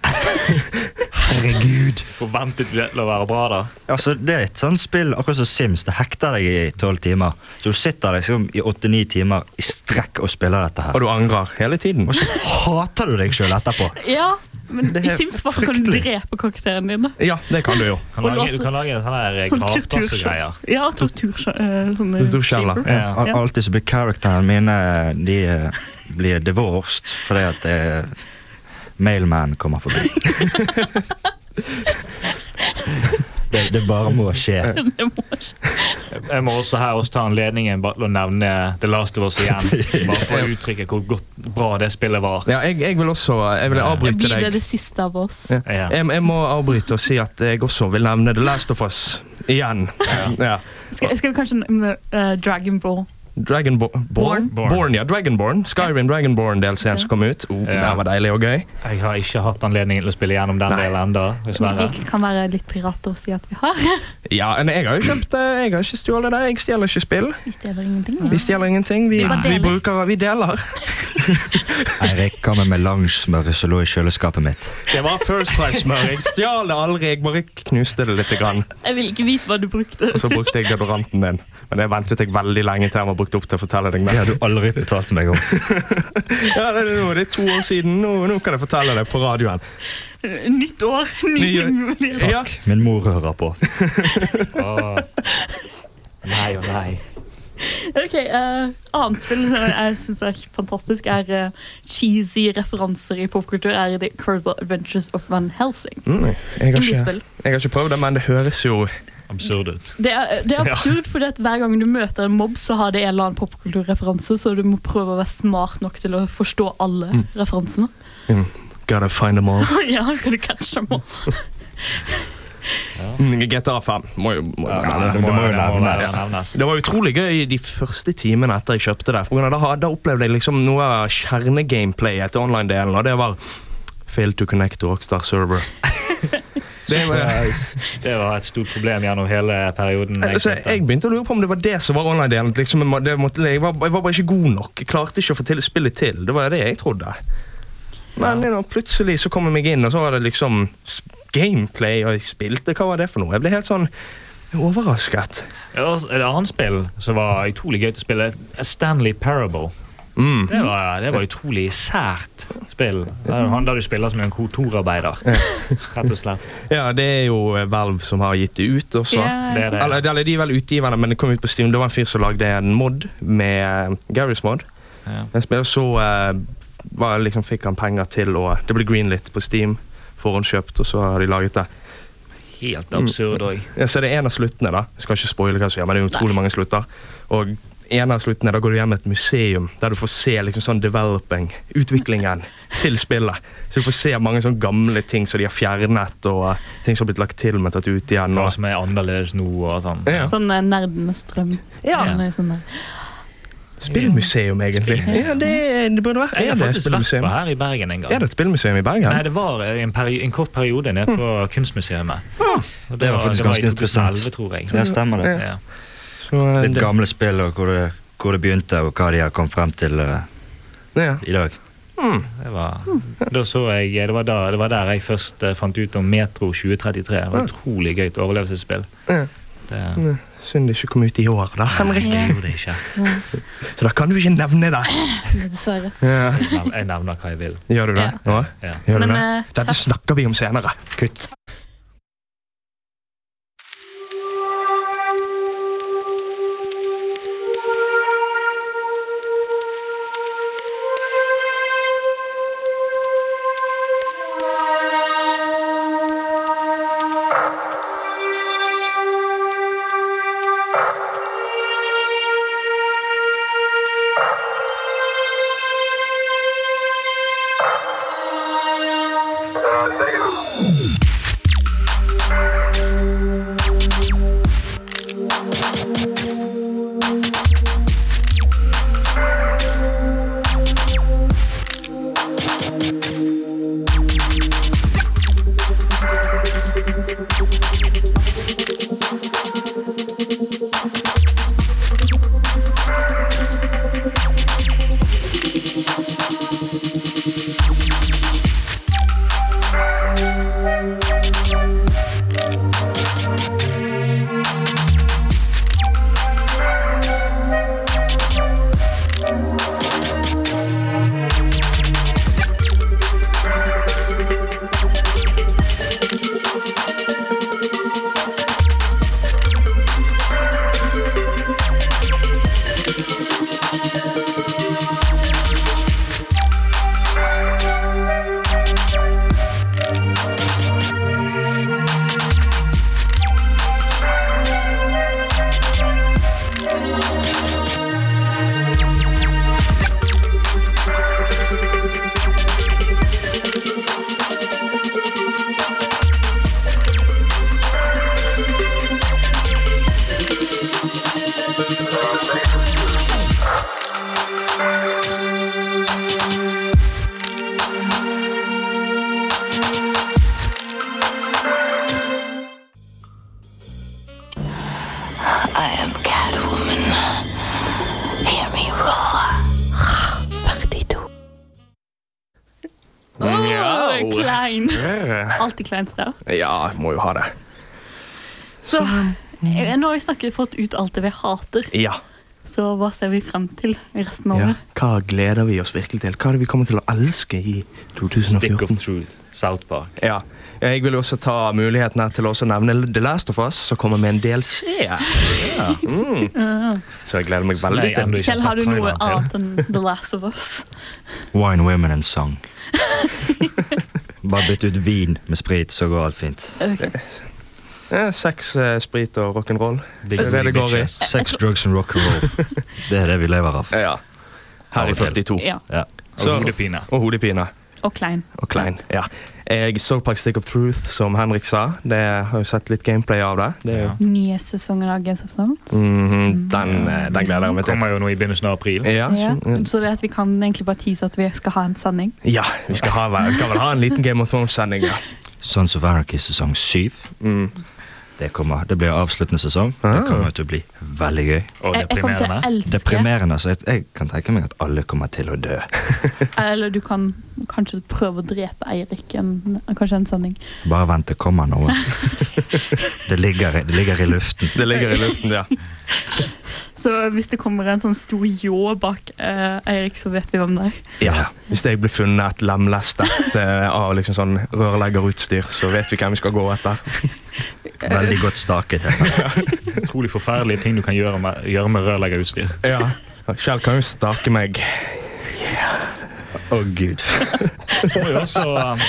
Speaker 6: Herregud!
Speaker 7: Forventet du det til å være bra, da?
Speaker 6: Altså, Det er et sånt spill, akkurat som Sims. Det hekter deg i tolv timer. Så du sitter liksom i åtte-ni timer i strekk og spiller dette
Speaker 4: Og
Speaker 6: her.
Speaker 4: du angrer hele tiden.
Speaker 6: Og så hater du deg sjøl etterpå.
Speaker 5: Ja, men
Speaker 6: Det er
Speaker 5: i Sims bare kan du
Speaker 6: fryktelig.
Speaker 5: drepe karakterene dine.
Speaker 4: Ja, det kan du jo.
Speaker 7: Kan
Speaker 5: Og
Speaker 7: lage,
Speaker 5: låse-
Speaker 7: du kan lage sånne her eh,
Speaker 5: Sånn
Speaker 7: gravplassgreier.
Speaker 5: tortursjel. Ja, tortursjel. eh, sånne
Speaker 4: Torturskjeller.
Speaker 5: shaper.
Speaker 7: Ja.
Speaker 6: Al-
Speaker 5: Ja.
Speaker 6: Alltid så blir karakterene mine De eh, blir divorced fordi at eh, mailman
Speaker 5: [laughs]
Speaker 6: kommer forbi. det, det bare må skje.
Speaker 5: [laughs] Det må ikke-
Speaker 7: Jeg må også her også ta anledningen bare til å nevne The Last of Us igjen. [laughs] Bare for å uttrykke hvor godt, bra det spillet var.
Speaker 4: Ja, jeg, jeg vil også Jeg vil avbryte
Speaker 5: Blir det
Speaker 4: deg.
Speaker 5: det siste av oss?
Speaker 4: Ja.
Speaker 7: Ja.
Speaker 4: Jeg, jeg må avbryte og si at jeg også vil nevne The Last of Us igjen. Ja.
Speaker 5: Skal, skal vi kanskje nevne eh, Dragon Ball?
Speaker 4: Dragonborn Born?
Speaker 5: Born.
Speaker 7: Born.
Speaker 4: Born, ja. Dragonborn. Skyrim Dragonborn-delscenen som kom ut. Oh,
Speaker 7: Ja.
Speaker 4: Den var deilig og gøy.
Speaker 7: Jeg har ikke hatt anledning til å spille gjennom den
Speaker 4: Nei.
Speaker 7: delen ennå, dessverre.
Speaker 5: Vi kan være litt pirater og si at vi har. [laughs]
Speaker 4: Ja, men Jeg har jo kjøpt det. Jeg har ikke stjålet det. Jeg stjeler ikke spill.
Speaker 5: Vi stjeler ingenting.
Speaker 4: Vi stjeler ingenting. Vi,
Speaker 5: Vi bare
Speaker 4: vi
Speaker 5: deler.
Speaker 4: bruker Vi deler.
Speaker 6: Eirik kommer med langesmør som lå i kjøleskapet mitt.
Speaker 4: Det var First Price-smør. Jeg stjal det aldri. Jeg bare knuste det litt. Grann.
Speaker 5: Jeg vil ikke vite hva du brukte.
Speaker 4: Og så brukte jeg deodoranten din. Men det ventet jeg veldig lenge til han var brukt opp til å fortelle deg.
Speaker 6: Det
Speaker 4: det.
Speaker 6: har du aldri fortalt meg om.
Speaker 4: Ja, det, er nå, det er to år siden. Nå, nå kan jeg fortelle det på radioen.
Speaker 5: Nytt år, nye
Speaker 4: Nye-
Speaker 5: muligheter.
Speaker 4: Ja.
Speaker 6: Min mor hører på.
Speaker 7: Åh. Nei og nei.
Speaker 5: Ok, eh, Annet spill som jeg syns er fantastisk, er eh, cheesy referanser i popkultur. er The Incredible Adventures of Van Helsing.
Speaker 4: Mm, jeg, har ikke,
Speaker 5: Indiespill.
Speaker 4: jeg har ikke prøvd det, men det høres jo
Speaker 7: Absurd ut.
Speaker 5: Det er, eh, det er absurd, fordi at hver gang du møter en mobb, så har det en eller annen popkulturreferanse, så du må prøve å være smart nok til å forstå alle referansene. [laughs]
Speaker 4: Gotta find them all.
Speaker 5: ja, kan du catche dem opp?
Speaker 4: Mm, GTA 5 må jo, må jo
Speaker 6: Ja,
Speaker 4: nevne
Speaker 6: det må jo
Speaker 7: Det
Speaker 6: nevnes.
Speaker 7: må nevnes.
Speaker 4: Det var utrolig gøy de første timene etter jeg kjøpte det. På grunn av Da, ha- da opplevde jeg liksom noe av kjernegameplayet til online-delen, og det var Fail to connect to Rockstar server. Det var,
Speaker 7: Det var et stort problem gjennom hele perioden. Eh, jeg
Speaker 4: Eh, så
Speaker 7: spilte.
Speaker 4: jeg begynte å lure på om det var det som var online-delen. at Liksom, jeg må- det måtte- jeg, var- jeg var bare ikke god nok. Jeg klarte ikke å få til spillet til. Det var det jeg trodde. Men you know, plutselig så kom jeg meg inn, og så var det liksom s- gameplay, og jeg spilte. Hva var det for noe? Jeg ble helt sånn overrasket.
Speaker 7: altså, Det var også et annet spill som var utrolig gøy til å spille, Stanley Parable.
Speaker 4: Mm.
Speaker 7: Det var, det var utrolig sært spill. Det er jo han der du spiller som en kontorarbeider. Rett og slett.
Speaker 4: Ja, det er jo eh, Valve som har gitt det ut også.
Speaker 7: Det er det.
Speaker 4: Eller, eller de er vel utgiverne, men det kom ut på Steam. Det var en fyr som lagde en mod med eh, Garry's mod.
Speaker 7: Ja.
Speaker 4: Den spiller så eh, var, liksom, fikk han penger til å Det ble greenlit på Steam. Forhåndskjøpt, og så har de laget det.
Speaker 7: Helt absurd òg.
Speaker 4: Ja, så er det en av sluttene, da. Jeg skal ikke spoile hva som skjer, men det er utrolig mange slutter. Og en av sluttene, da går du hjem med et museum der du får se liksom sånn developing, utviklingen til spillet. Så du får se mange sånne gamle ting som de har fjernet, og eh, ting som har blitt lagt til men tatt ut igjen.
Speaker 7: Noe
Speaker 4: Og,
Speaker 7: som er annerledes nå og sånn.
Speaker 4: ja.
Speaker 5: Sånn eh, nerdenes drøm.
Speaker 4: Ja.
Speaker 5: Eller Sånn der.
Speaker 4: Spillmuseum, egentlig.
Speaker 7: Spillmuseum.
Speaker 4: Ja, det, det burde være.
Speaker 7: Jeg
Speaker 4: Er
Speaker 7: har
Speaker 4: det et
Speaker 7: faktisk vært
Speaker 4: spillmuseum?
Speaker 7: på her i Bergen en gang.
Speaker 4: Er det et spillmuseum i Bergen?
Speaker 7: Nei, det var eh, en, peri en kort periode nede på
Speaker 4: Mm.
Speaker 7: Kunstmuseet. Og
Speaker 6: Det
Speaker 7: det
Speaker 6: var faktisk
Speaker 7: var i
Speaker 6: ganske interessant.
Speaker 7: 2011, tror jeg.
Speaker 6: Ja, stemmer det.
Speaker 7: Ja.
Speaker 4: Så, eh,
Speaker 6: Litt
Speaker 4: det-
Speaker 6: gamle spill og hvor det, hvor det begynte, og hva de har kommet frem til eh,
Speaker 4: Ja.
Speaker 6: i dag.
Speaker 7: Det var, da så jeg, eh, det, var da, det var der jeg først eh, fant ut om Metro 2033. Det var et utrolig gøy til overlevelsesspill.
Speaker 4: Mm. Ja.
Speaker 7: Det
Speaker 4: Synd det ikke kom ut i år, da, Henrik.
Speaker 7: jeg gjorde det ikke.
Speaker 4: Så da kan du ikke nevne det.
Speaker 5: Dessverre.
Speaker 4: Ja.
Speaker 7: Jeg nev- Jeg nevner hva jeg vil.
Speaker 4: Gjør du det? Ja.
Speaker 7: Ja.
Speaker 4: Gjør du
Speaker 5: Men
Speaker 4: det?
Speaker 5: eh,
Speaker 4: Dette
Speaker 5: takk.
Speaker 4: snakker vi om senere.
Speaker 6: Kutt.
Speaker 11: I am Catwoman. Hear me roar. 42.
Speaker 5: Åh,
Speaker 4: Mjau.
Speaker 5: klein.
Speaker 4: Eh,
Speaker 5: Alltid klein start.
Speaker 4: Ja, må jo ha det.
Speaker 5: Så jeg, nå har jeg snakket fått ut alt det vi hater.
Speaker 4: Ja.
Speaker 5: Så hva ser vi frem til i resten av
Speaker 4: ja.
Speaker 5: året?
Speaker 4: Hva gleder vi oss virkelig til? Hva er det vi kommer til å elske i
Speaker 7: Stick of
Speaker 4: 2014?
Speaker 7: Truth, South Park.
Speaker 4: Ja. Jeg vil jo også ta muligheten her til å også nevne The Last of Us, som kommer med en del skje. Så jeg gleder meg veldig
Speaker 7: Nei,
Speaker 4: til.
Speaker 7: ennå ikke
Speaker 5: Kjell, har
Speaker 7: sett
Speaker 5: du noe
Speaker 7: traileren til.
Speaker 5: annet enn The Last of Us?
Speaker 6: Wine, women and song. [laughs] Bare bytte ut vin med sprit, så går alt fint.
Speaker 5: [laughs] Ok.
Speaker 4: Eh, Sex, eh, sprit og rock'n'roll.
Speaker 7: Big
Speaker 4: Det er det det
Speaker 7: Big
Speaker 4: går i.
Speaker 7: Bitches.
Speaker 6: Sex, drugs and rock and roll. Det er det vi lever av.
Speaker 4: Ja. Her i 42.
Speaker 5: Ja,
Speaker 6: Ja.
Speaker 7: Og
Speaker 4: Så-
Speaker 7: hodepine.
Speaker 4: Og hodepine.
Speaker 5: og klein.
Speaker 4: Og klein. ja. Jeg så Park Stick of Truth, som Henrik sa. Det har jo sett litt gameplay av det. det er jo,
Speaker 5: Nye sesongen av Games of Thrones.
Speaker 4: Mhm, den, eh, den gleder jeg meg til.
Speaker 7: Kommer jo nå i begynnelsen av april.
Speaker 4: Ja,
Speaker 5: Ja,
Speaker 4: så-
Speaker 5: så det at vi kan egentlig bare tease at vi skal ha en sending.
Speaker 4: ja vi skal, ha, vi skal vel ha en liten Game of Thrones-sending. Ja.
Speaker 6: Sons of Anarchy sesong syv. Mm. Det, kommer, det blir avsluttende sesong. Det kommer til å bli veldig gøy.
Speaker 7: Og
Speaker 5: Jeg, jeg kommer til å
Speaker 7: deprimerende.
Speaker 5: elske
Speaker 6: Deprimerende. Så jeg, jeg kan tenke meg at alle kommer til å dø.
Speaker 5: Eller du kan kanskje prøve å drepe Eirik. En, kanskje en sending.
Speaker 6: Bare vent, det kommer noe. Det ligger, i- det ligger i luften.
Speaker 4: Det ligger i luften, ja.
Speaker 5: Så hvis det kommer en sånn stor ljå bak eh, Eirik, så vet vi hvem det er.
Speaker 4: ja. Hvis jeg blir funnet [laughs] lemlestet eh, av liksom sånn rørleggerutstyr, så vet vi hvem vi skal gå etter.
Speaker 5: Eh.
Speaker 6: Veldig godt staket. Her.
Speaker 7: Utrolig forferdelige ting du kan gjøre med, gjøre med [laughs] rørleggerutstyr.
Speaker 4: Ja. Kjell kan jo stake meg.
Speaker 6: Å, gud.
Speaker 7: Det var jo også um,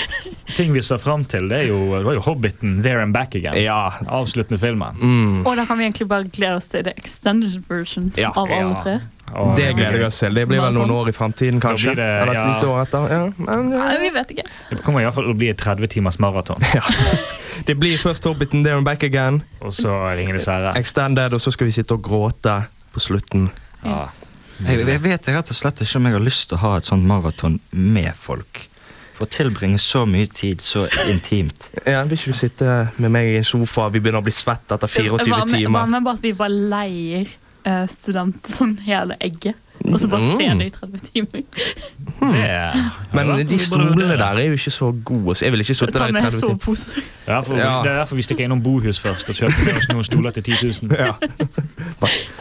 Speaker 7: ting vi ser fram til. Det, er jo, det var jo Hobbiten, There and Back Again.
Speaker 4: Ja.
Speaker 7: Avsluttende filmen.
Speaker 5: Og da kan vi egentlig bare glede oss til the extended version
Speaker 4: Ja,
Speaker 5: av alle
Speaker 7: ja.
Speaker 5: tre.
Speaker 7: Og-
Speaker 4: Det gleder vi oss til. Det blir vel noen år i fremtiden, kanskje.
Speaker 7: blir det,
Speaker 4: Eller et
Speaker 7: ja.
Speaker 4: lite år etter. Ja, men, ja.
Speaker 5: Nei, vi vet ikke.
Speaker 7: Det kommer i hvert fall til å bli et 30 timers maraton.
Speaker 4: Det blir først Hobbiten, There and Back Again,
Speaker 7: Og så Ringenes [laughs] herre.
Speaker 4: Extended, og så skal vi sitte og gråte på slutten.
Speaker 7: Ja.
Speaker 6: Jeg, jeg vet rett og slett ikke om jeg har lyst til å ha et sånt maraton med folk. For å tilbringe så mye tid så [laughs] intimt.
Speaker 4: Ja, Vil ikke du sitte med meg i en sofa, vi begynner å bli svett etter 24
Speaker 5: Hva med- Hva
Speaker 4: timer?
Speaker 5: med bare at vi bare leier eh, studenter sånn hele egget? Og så bare
Speaker 4: Mm.
Speaker 5: ser det i 30 timer.
Speaker 7: Det er-
Speaker 4: Men
Speaker 7: Ja, vi
Speaker 4: de
Speaker 7: burde
Speaker 4: stolene
Speaker 7: vurdere det.
Speaker 4: der er jo ikke så gode. Så jeg vil ikke sitte
Speaker 5: Ta
Speaker 4: der i
Speaker 5: med
Speaker 4: 30 timer.
Speaker 5: soveposer.
Speaker 7: Ja, for,
Speaker 4: Ja.
Speaker 7: Det er derfor vi stikker innom Bohus først og kjøper med oss noen stoler til 10 000.
Speaker 4: Ja.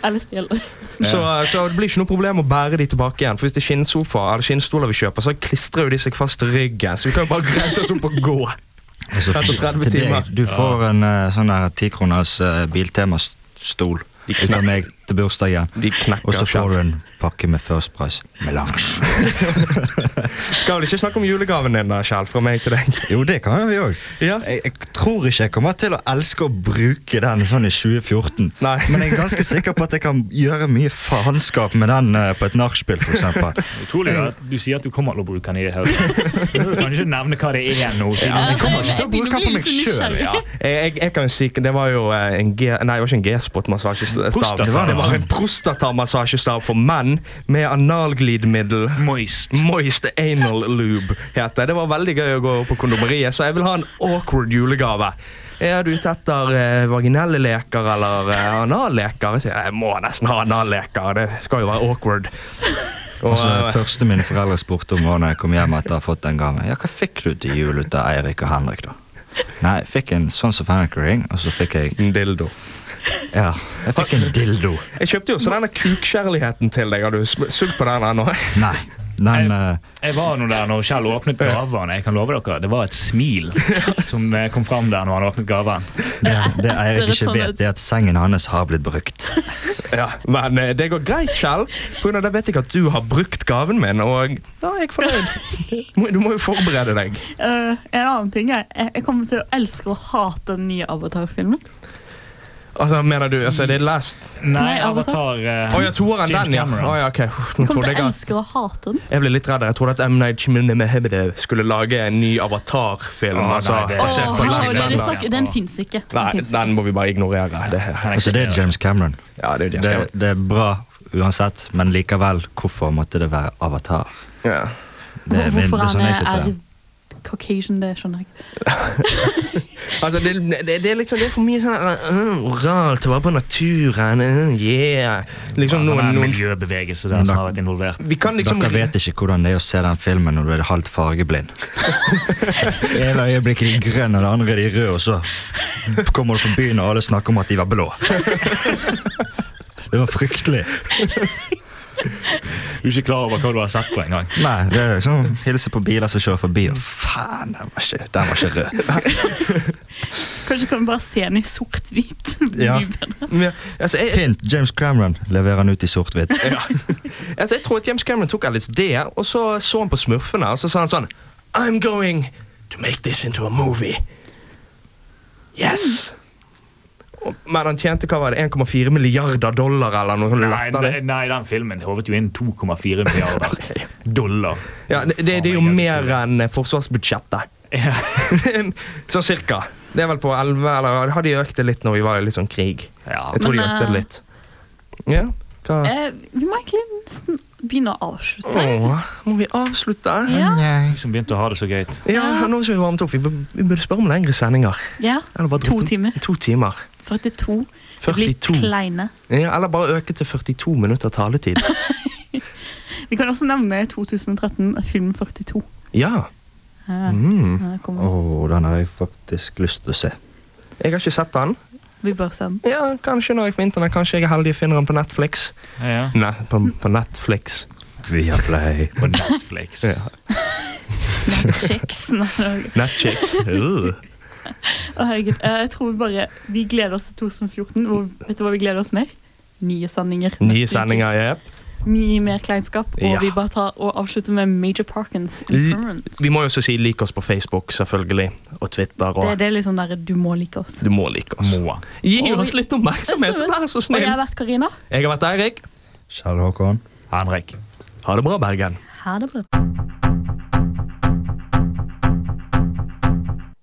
Speaker 5: Eller stjeler.
Speaker 4: Så, eh, så det blir ikke noe problem å bære de tilbake igjen. For hvis det er skinnsofa eller skinnstoler vi kjøper, så klistrer jo de seg fast i ryggen. Så vi kan jo bare reise oss opp og gå.
Speaker 6: Altså,
Speaker 4: Etter 30
Speaker 6: til
Speaker 4: timer.
Speaker 6: deg, du får en eh, sånn der tikroners uh, biltemastol ut av meg til bursdagen.
Speaker 4: De knekker
Speaker 6: Og så
Speaker 4: selv.
Speaker 6: får du en pakke med First Price Melange.
Speaker 4: Skal vi ikke snakke om julegaven din, da, Kjell? Fra meg til deg.
Speaker 6: [laughs] Jo, det kan vi òg.
Speaker 4: Ja.
Speaker 6: Jeg, jeg tror ikke jeg kommer til å elske å bruke den sånn i 2014.
Speaker 4: Nei.
Speaker 6: [laughs] Men jeg er ganske sikker på at jeg kan gjøre mye faenskap med den eh, på et nachspiel, [laughs] f.eks.
Speaker 7: Utrolig at du sier at du kommer til å bruke den i det hele tatt. Du kan ikke nevne hva det er nå. siden
Speaker 6: Jeg kommer ikke til å bruke den på meg sjøl.
Speaker 4: Ja. Jeg, jeg, jeg kan jo si Det var jo eh, en G... Nei, det var ikke en G-spot-massasjestav.
Speaker 7: Prostata.
Speaker 4: Det var- det var en prostatamassasjestav for menn med analglidemiddel.
Speaker 7: Moist.
Speaker 4: Moist anal lube heter det. Det var veldig gøy å gå på kondomeriet, så jeg vil ha en awkward julegave. Er du ute etter eh, vaginelle leker eller eh, analleker? Jeg sier, jeg må nesten ha analleker, det skal jo være awkward. Og,
Speaker 6: Altså,
Speaker 4: eh,
Speaker 6: første mine foreldre spurte om var når jeg kom hjem etter å ha fått den gaven. Ja, hva fikk du til jul ut av Eirik og Henrik, da? Nei, jeg fikk en sånn Sons of Anarchy-ring, og så fikk jeg
Speaker 4: en dildo.
Speaker 6: Ja, jeg fikk en dildo.
Speaker 4: Jeg kjøpte jo også denne kukkjærligheten til deg. Har du sm- sugd på den ennå? [laughs]
Speaker 6: Nei. Den eh,
Speaker 7: Jeg var nå der når Kjell åpnet gaven. Jeg kan love dere, Det var et smil som eh, kom fram der når han åpnet gaven.
Speaker 6: det, det Eirik
Speaker 5: et
Speaker 6: ikke
Speaker 5: sånt
Speaker 6: vet,
Speaker 5: et-
Speaker 6: det er sånn at sengen hans har blitt brukt.
Speaker 4: Ja, men eh, det går greit, Kjell. På grunn av det vet jeg at du har brukt gaven min, og da er jeg fornøyd. Må- Du må jo forberede deg.
Speaker 5: Eh, en annen ting er, jeg, jeg kommer til å elske og hate den nye Avatar-filmen.
Speaker 4: Altså, mener du, altså, det er last?
Speaker 5: Nei,
Speaker 7: Nei,
Speaker 5: Avatar.
Speaker 7: Avatar eh,
Speaker 4: Å ja, toeren,
Speaker 7: James
Speaker 4: den, ja.
Speaker 7: Cameron.
Speaker 4: Å, ja ok. Nå
Speaker 5: Jeg kommer til
Speaker 4: trodde jeg
Speaker 5: å
Speaker 4: at
Speaker 5: elske og hate den.
Speaker 4: jeg ble litt redd. Jeg trodde at M. Night Shyamalan skulle lage en ny Avatar-film.
Speaker 7: Å, nei,
Speaker 4: altså,
Speaker 7: det-
Speaker 5: Åh,
Speaker 7: ser
Speaker 4: basert
Speaker 7: på
Speaker 4: på
Speaker 5: herregud,
Speaker 4: Last
Speaker 7: Avatar,
Speaker 5: det er
Speaker 4: Man.
Speaker 5: snakk- den fins ikke. Den
Speaker 4: Nei,
Speaker 5: finnes
Speaker 4: den må vi bare ignorere. Det,
Speaker 7: Den
Speaker 6: Altså, det er James Cameron.
Speaker 4: ja, det er jo
Speaker 6: Det,
Speaker 4: James
Speaker 6: det er bra uansett, men likevel, hvorfor måtte det være Avatar?
Speaker 4: Cameron. Ja.
Speaker 6: Det er,
Speaker 5: Hvorfor
Speaker 6: det er sånn jeg
Speaker 5: han
Speaker 6: sitter
Speaker 5: er Caucasian, det skjønner jeg ikke.
Speaker 4: Altså, det, det, det, er liksom, det er for mye sånn uh, oralt, å være på naturen, øh, yeah. Liksom
Speaker 6: Altså,
Speaker 7: sånn
Speaker 4: noen,
Speaker 7: en
Speaker 4: noen
Speaker 7: miljøbevegelse der som har vært involvert.
Speaker 4: Vi kan liksom
Speaker 6: Dere vet ikke hvordan det er å se den filmen når du er halvt fargeblind. Det ene øyeblikket er de grønne, det andre er de røde, og så kommer du på byen, og alle snakker om at de var blå. Det var fryktelig.
Speaker 7: Du er ikke klar over hva du har sett på engang.
Speaker 6: Nei, det er sånn hilse på biler som kjører forbi, og faen, den var ikke, den var ikke rød.
Speaker 5: Kanskje kan vi bare se den i sort-hvit. [laughs]
Speaker 6: Ja.
Speaker 4: Ja, altså, jeg,
Speaker 6: Hint, James Cameron leverer den ut i sort-hvitt.
Speaker 4: altså, jeg tror at James Cameron tok LSD, og så så han på smurfene, og så sa han sånn I'm going to make this into a movie. Yes! Og- Men han tjente hva var det, 1,4 milliarder dollar eller noe sånt?
Speaker 7: Nei,
Speaker 4: latterlig.
Speaker 7: nei, nei, den filmen håvet jo inn 2,4 milliarder [laughs] dollar.
Speaker 4: [laughs] Ja, det, det, det er jo mer enn eh, forsvarsbudsjettet. [laughs] så cirka. Det er vel på 11, eller har de økt det litt når vi var i litt sånn krig?
Speaker 7: Ja,
Speaker 4: Jeg tror
Speaker 5: Men,
Speaker 4: de økte det
Speaker 5: eh,
Speaker 4: litt. Ja, hva?
Speaker 5: Eh, vi må egentlig nesten begynne å avslutte.
Speaker 4: Åh, må vi avslutte?
Speaker 5: Ja,
Speaker 7: jeg som begynte å ha det så gøy.
Speaker 4: Ja, nå som vi varmet opp, vi bur- vi burde spørre om lengre sendinger.
Speaker 5: ja.
Speaker 4: Eller bare
Speaker 5: To
Speaker 4: droppe-
Speaker 5: timer.
Speaker 4: To timer.
Speaker 5: 42. Det blir
Speaker 4: 42.
Speaker 5: kleine.
Speaker 4: Ja, eller bare øke til 42 minutter taletid.
Speaker 5: Vi kan også nevne 2013, film 42.
Speaker 4: Ja.
Speaker 5: Eh,
Speaker 4: Mm.
Speaker 5: eh, kommer.
Speaker 6: Åh, den har jeg faktisk lyst til å se.
Speaker 4: Jeg har ikke sett den.
Speaker 5: Vi bør se den.
Speaker 4: Ja, Kanskje når jeg får internett, kanskje jeg er heldig og finner den på Netflix.
Speaker 7: Ja,
Speaker 4: Nei, på, på Netflix.
Speaker 6: Via Play.
Speaker 7: på Netflix.
Speaker 4: Ja.
Speaker 5: Netflix. Nei,
Speaker 4: Netchicks. Øh.
Speaker 5: Å, herregud. Eh, jeg tror vi bare Vi gleder oss til 2014. Hvor, vet du hva vi gleder oss mer? Nye sendinger.
Speaker 4: Nye
Speaker 5: neste uke.
Speaker 4: sendinger, jepp.
Speaker 5: Mye mer kleinskap. Og
Speaker 4: Ja.
Speaker 5: vi bare tar og avslutter med Major Parkins. Inference.
Speaker 4: Vi må jo også si lik oss på Facebook, selvfølgelig. Og Twitter.
Speaker 5: Det,
Speaker 4: Og
Speaker 5: det er litt sånn der Du må like oss.
Speaker 4: du må like oss.
Speaker 7: Må.
Speaker 4: Gi oss litt oppmerksomhet, vær så
Speaker 5: Og jeg
Speaker 4: snill!
Speaker 5: har vært Karina.
Speaker 4: Jeg har vært Eirik.
Speaker 6: Kjell Håkon.
Speaker 7: Henrik.
Speaker 4: Ha det bra, Bergen.
Speaker 5: Ha det bra.